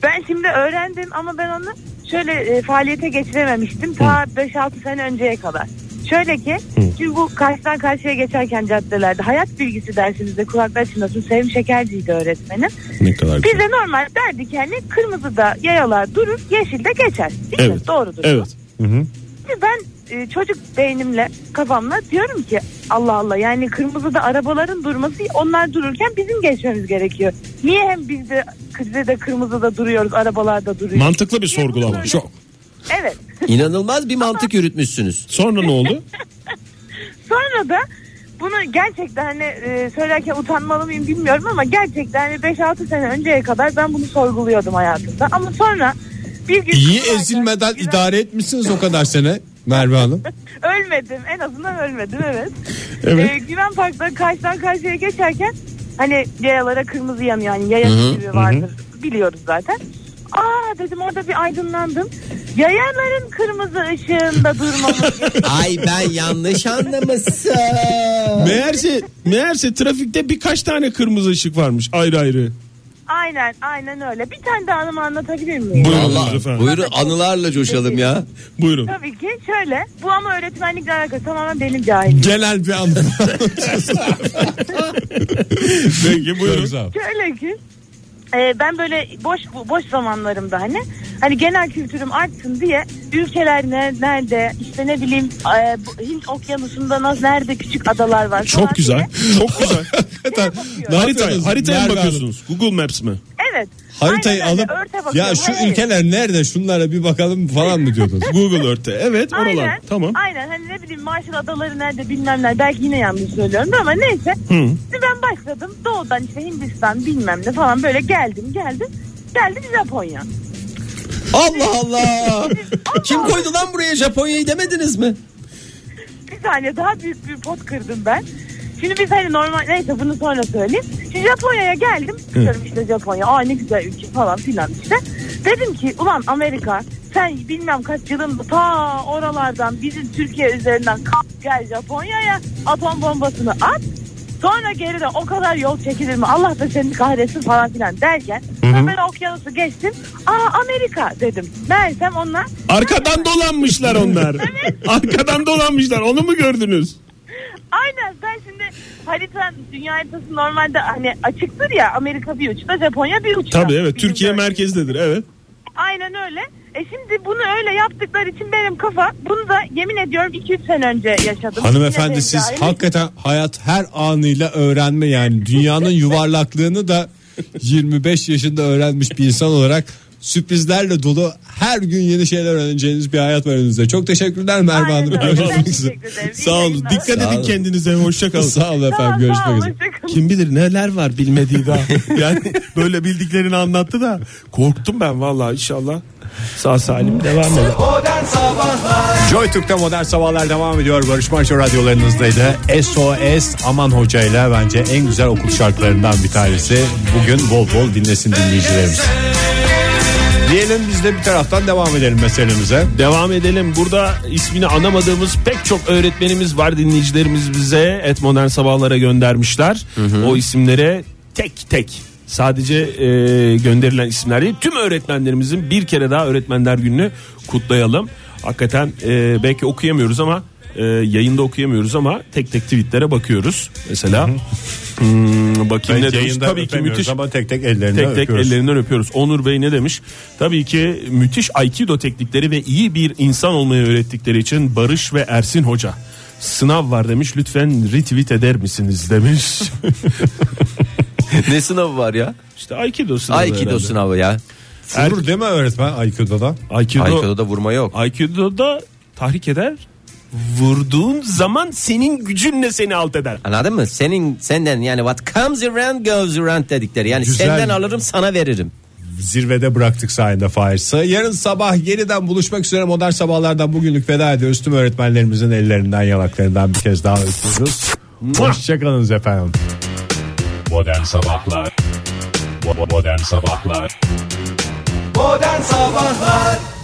[SPEAKER 9] Ben şimdi öğrendim ama ben onu şöyle e, faaliyete geçirememiştim. Ta 5-6 sene önceye kadar. Şöyle ki şimdi bu karşıdan karşıya geçerken caddelerde hayat bilgisi dersimizde kulaklar çınlasın Sevim Şekerci'ydi öğretmenim.
[SPEAKER 3] Ne kadar güzel.
[SPEAKER 9] Biz de normal derdik yani kırmızıda yayalar durur yeşilde geçer. Değil
[SPEAKER 3] Evet.
[SPEAKER 9] mi? Doğrudur. bu.
[SPEAKER 3] Evet.
[SPEAKER 9] Şimdi ben e, çocuk beynimle kafamla diyorum ki Allah Allah yani kırmızıda arabaların durması onlar dururken bizim geçmemiz gerekiyor. Niye hem biz de kırmızıda kırmızıda duruyoruz arabalarda duruyoruz.
[SPEAKER 3] Mantıklı bir sorgulama.
[SPEAKER 9] Çok. Evet.
[SPEAKER 4] İnanılmaz bir mantık yürütmüşsünüz.
[SPEAKER 3] Sonra ne oldu?
[SPEAKER 9] Sonra da bunu gerçekten hani e, söylerken utanmalı mıyım bilmiyorum ama gerçekten hani 5-6 sene önceye kadar ben bunu sorguluyordum hayatımda. Ama sonra bir gün
[SPEAKER 2] İyi ezilmeden idare etmişsiniz o kadar sene Merve Hanım.
[SPEAKER 9] ölmedim en azından ölmedim evet.
[SPEAKER 3] Evet.
[SPEAKER 9] Ee, Güven Park'ta karşıdan karşıya geçerken hani yayalara kırmızı yanıyor yani yaya gibi vardır biliyoruz zaten. Aa dedim orada bir aydınlandım. Yayaların kırmızı ışığında durmamız gerekiyor.
[SPEAKER 4] Ay ben yanlış anlamışım.
[SPEAKER 3] Meğerse meğerse trafikte birkaç tane kırmızı ışık varmış ayrı ayrı.
[SPEAKER 9] aynen aynen öyle. Bir tane daha anımı anlatabilir miyim?
[SPEAKER 3] Buyurun
[SPEAKER 4] Allah,
[SPEAKER 3] efendim.
[SPEAKER 4] buyurun anılarla coşalım ya.
[SPEAKER 3] Buyurun.
[SPEAKER 9] Tabii ki şöyle. Bu ama öğretmenlikle alakalı tamamen benim cahilim.
[SPEAKER 2] Genel bir anlamda.
[SPEAKER 3] Peki buyurun.
[SPEAKER 9] Şöyle ki e, ben böyle boş boş zamanlarımda hani hani genel kültürüm artsın diye ülkeler ne, nerede işte ne bileyim e, bu Hint okyanusunda naz- nerede küçük adalar var falan
[SPEAKER 3] Çok güzel.
[SPEAKER 9] diye
[SPEAKER 3] Çok güzel.
[SPEAKER 9] şeye bakıyorum.
[SPEAKER 3] Harita, haritaya mı
[SPEAKER 2] Nerede
[SPEAKER 3] bakıyorsunuz? Google Maps mi?
[SPEAKER 9] Evet.
[SPEAKER 2] Haritayı
[SPEAKER 9] Aynen öyle, örte
[SPEAKER 2] alıp ya
[SPEAKER 9] bakıyorum. Hani
[SPEAKER 2] şu
[SPEAKER 9] Hayır.
[SPEAKER 2] ülkeler nerede şunlara bir bakalım falan mı diyordunuz?
[SPEAKER 3] Google Earth'te. Evet oralar.
[SPEAKER 9] Aynen.
[SPEAKER 3] Tamam.
[SPEAKER 9] Aynen hani ne bileyim Marshall Adaları nerede bilmem nerede belki yine yanlış söylüyorum da ama neyse. Şimdi ben başladım doğudan işte Hindistan bilmem ne falan böyle geldim geldim. Geldim Japonya.
[SPEAKER 4] Allah Allah. Kim koydu lan buraya Japonya'yı demediniz mi?
[SPEAKER 9] bir saniye daha büyük bir pot kırdım ben. Şimdi biz hani normal neyse bunu sonra söyleyeyim. Şimdi Japonya'ya geldim. Diyorum işte Japonya aa ne güzel ülke falan filan işte. Dedim ki ulan Amerika sen bilmem kaç yılında ta oralardan bizim Türkiye üzerinden kalk gel Japonya'ya atom bombasını at. Sonra geri de o kadar yol çekilir mi Allah da seni kahretsin falan filan derken ben böyle okyanusu geçtim. Aa Amerika dedim. Meğersem onlar
[SPEAKER 3] Arkadan dolanmışlar onlar. Arkadan dolanmışlar. Onu mu gördünüz?
[SPEAKER 9] Aynen ben şimdi harita dünya haritası normalde hani açıktır ya Amerika bir uçta Japonya bir uçta.
[SPEAKER 3] Tabii evet.
[SPEAKER 9] Bizim
[SPEAKER 3] Türkiye
[SPEAKER 9] böyle.
[SPEAKER 3] merkezdedir. Evet.
[SPEAKER 9] Aynen öyle. E şimdi bunu öyle yaptıkları için benim kafa bunu da yemin ediyorum 2-3 sene önce yaşadım.
[SPEAKER 2] Hanımefendi
[SPEAKER 9] Yine
[SPEAKER 2] siz
[SPEAKER 9] benzer.
[SPEAKER 2] hakikaten hayat her anıyla öğrenme yani dünyanın yuvarlaklığını da 25 yaşında öğrenmiş bir insan olarak sürprizlerle dolu her gün yeni şeyler öğreneceğiniz bir hayat var önünüzde. Çok teşekkürler Merve
[SPEAKER 9] Aynen
[SPEAKER 2] Hanım.
[SPEAKER 9] öyle.
[SPEAKER 2] Görüşmek
[SPEAKER 9] Ben
[SPEAKER 2] üzere.
[SPEAKER 9] teşekkür ederim. İyi
[SPEAKER 2] Sağ olun.
[SPEAKER 9] yayınlar.
[SPEAKER 2] Dikkat
[SPEAKER 4] Sağ
[SPEAKER 2] edin
[SPEAKER 4] olun.
[SPEAKER 2] kendinize. Hoşçakalın. Sağ olun
[SPEAKER 9] Tamam,
[SPEAKER 2] efendim.
[SPEAKER 9] sağ
[SPEAKER 2] Görüşmek
[SPEAKER 9] olun,
[SPEAKER 2] üzere.
[SPEAKER 9] hoşçakalın.
[SPEAKER 3] Kim bilir neler var bilmediği daha. Yani böyle bildiklerini anlattı da korktum ben vallahi inşallah. Sağ salim devam eder.
[SPEAKER 2] Joy Türk'te modern sabahlar devam ediyor. Barış Manço radyolarınızdaydı. SOS Aman Hoca ile bence en güzel okul şarkılarından bir tanesi. Bugün bol bol dinlesin dinleyicilerimiz. Diyelim biz de bir taraftan devam edelim meselemize.
[SPEAKER 3] Devam edelim. Burada ismini anamadığımız pek çok öğretmenimiz var dinleyicilerimiz bize et modern sabahlara göndermişler. O isimlere tek tek sadece e, gönderilen isimler değil tüm öğretmenlerimizin bir kere daha öğretmenler gününü kutlayalım. Hakikaten e, belki okuyamıyoruz ama e, yayında okuyamıyoruz ama tek tek tweetlere bakıyoruz. Mesela hmm, bakayım ne demiş. Tabii ki müthiş
[SPEAKER 2] ama tek tek ellerinden
[SPEAKER 3] Tek tek ellerinden öpüyoruz. Onur Bey ne demiş? Tabii ki müthiş Aikido teknikleri ve iyi bir insan olmayı öğrettikleri için Barış ve Ersin Hoca. Sınav var demiş lütfen retweet eder misiniz demiş.
[SPEAKER 4] ne sınavı var ya?
[SPEAKER 3] işte Aikido sınavı.
[SPEAKER 4] Aikido
[SPEAKER 3] herhalde.
[SPEAKER 4] sınavı ya.
[SPEAKER 2] Vurur değil mi öğretmen Aikido'da?
[SPEAKER 3] Aikido, Aikido'da.
[SPEAKER 4] Aikido'da vurma yok.
[SPEAKER 3] tahrik eder. Vurduğun zaman senin gücünle seni alt eder.
[SPEAKER 4] Anladın mı? Senin senden yani what comes around goes around dedikleri. Yani
[SPEAKER 2] Güzel.
[SPEAKER 4] senden alırım sana veririm.
[SPEAKER 2] Zirvede bıraktık sayende Fahir'si. Yarın sabah yeniden buluşmak üzere modern sabahlardan bugünlük veda ediyoruz. Tüm öğretmenlerimizin ellerinden yanaklarından bir kez daha öpüyoruz. Hoşçakalınız efendim.
[SPEAKER 10] Modern Sabahlar Bo- bo- Modern Sabahlar
[SPEAKER 5] Modern Sabahlar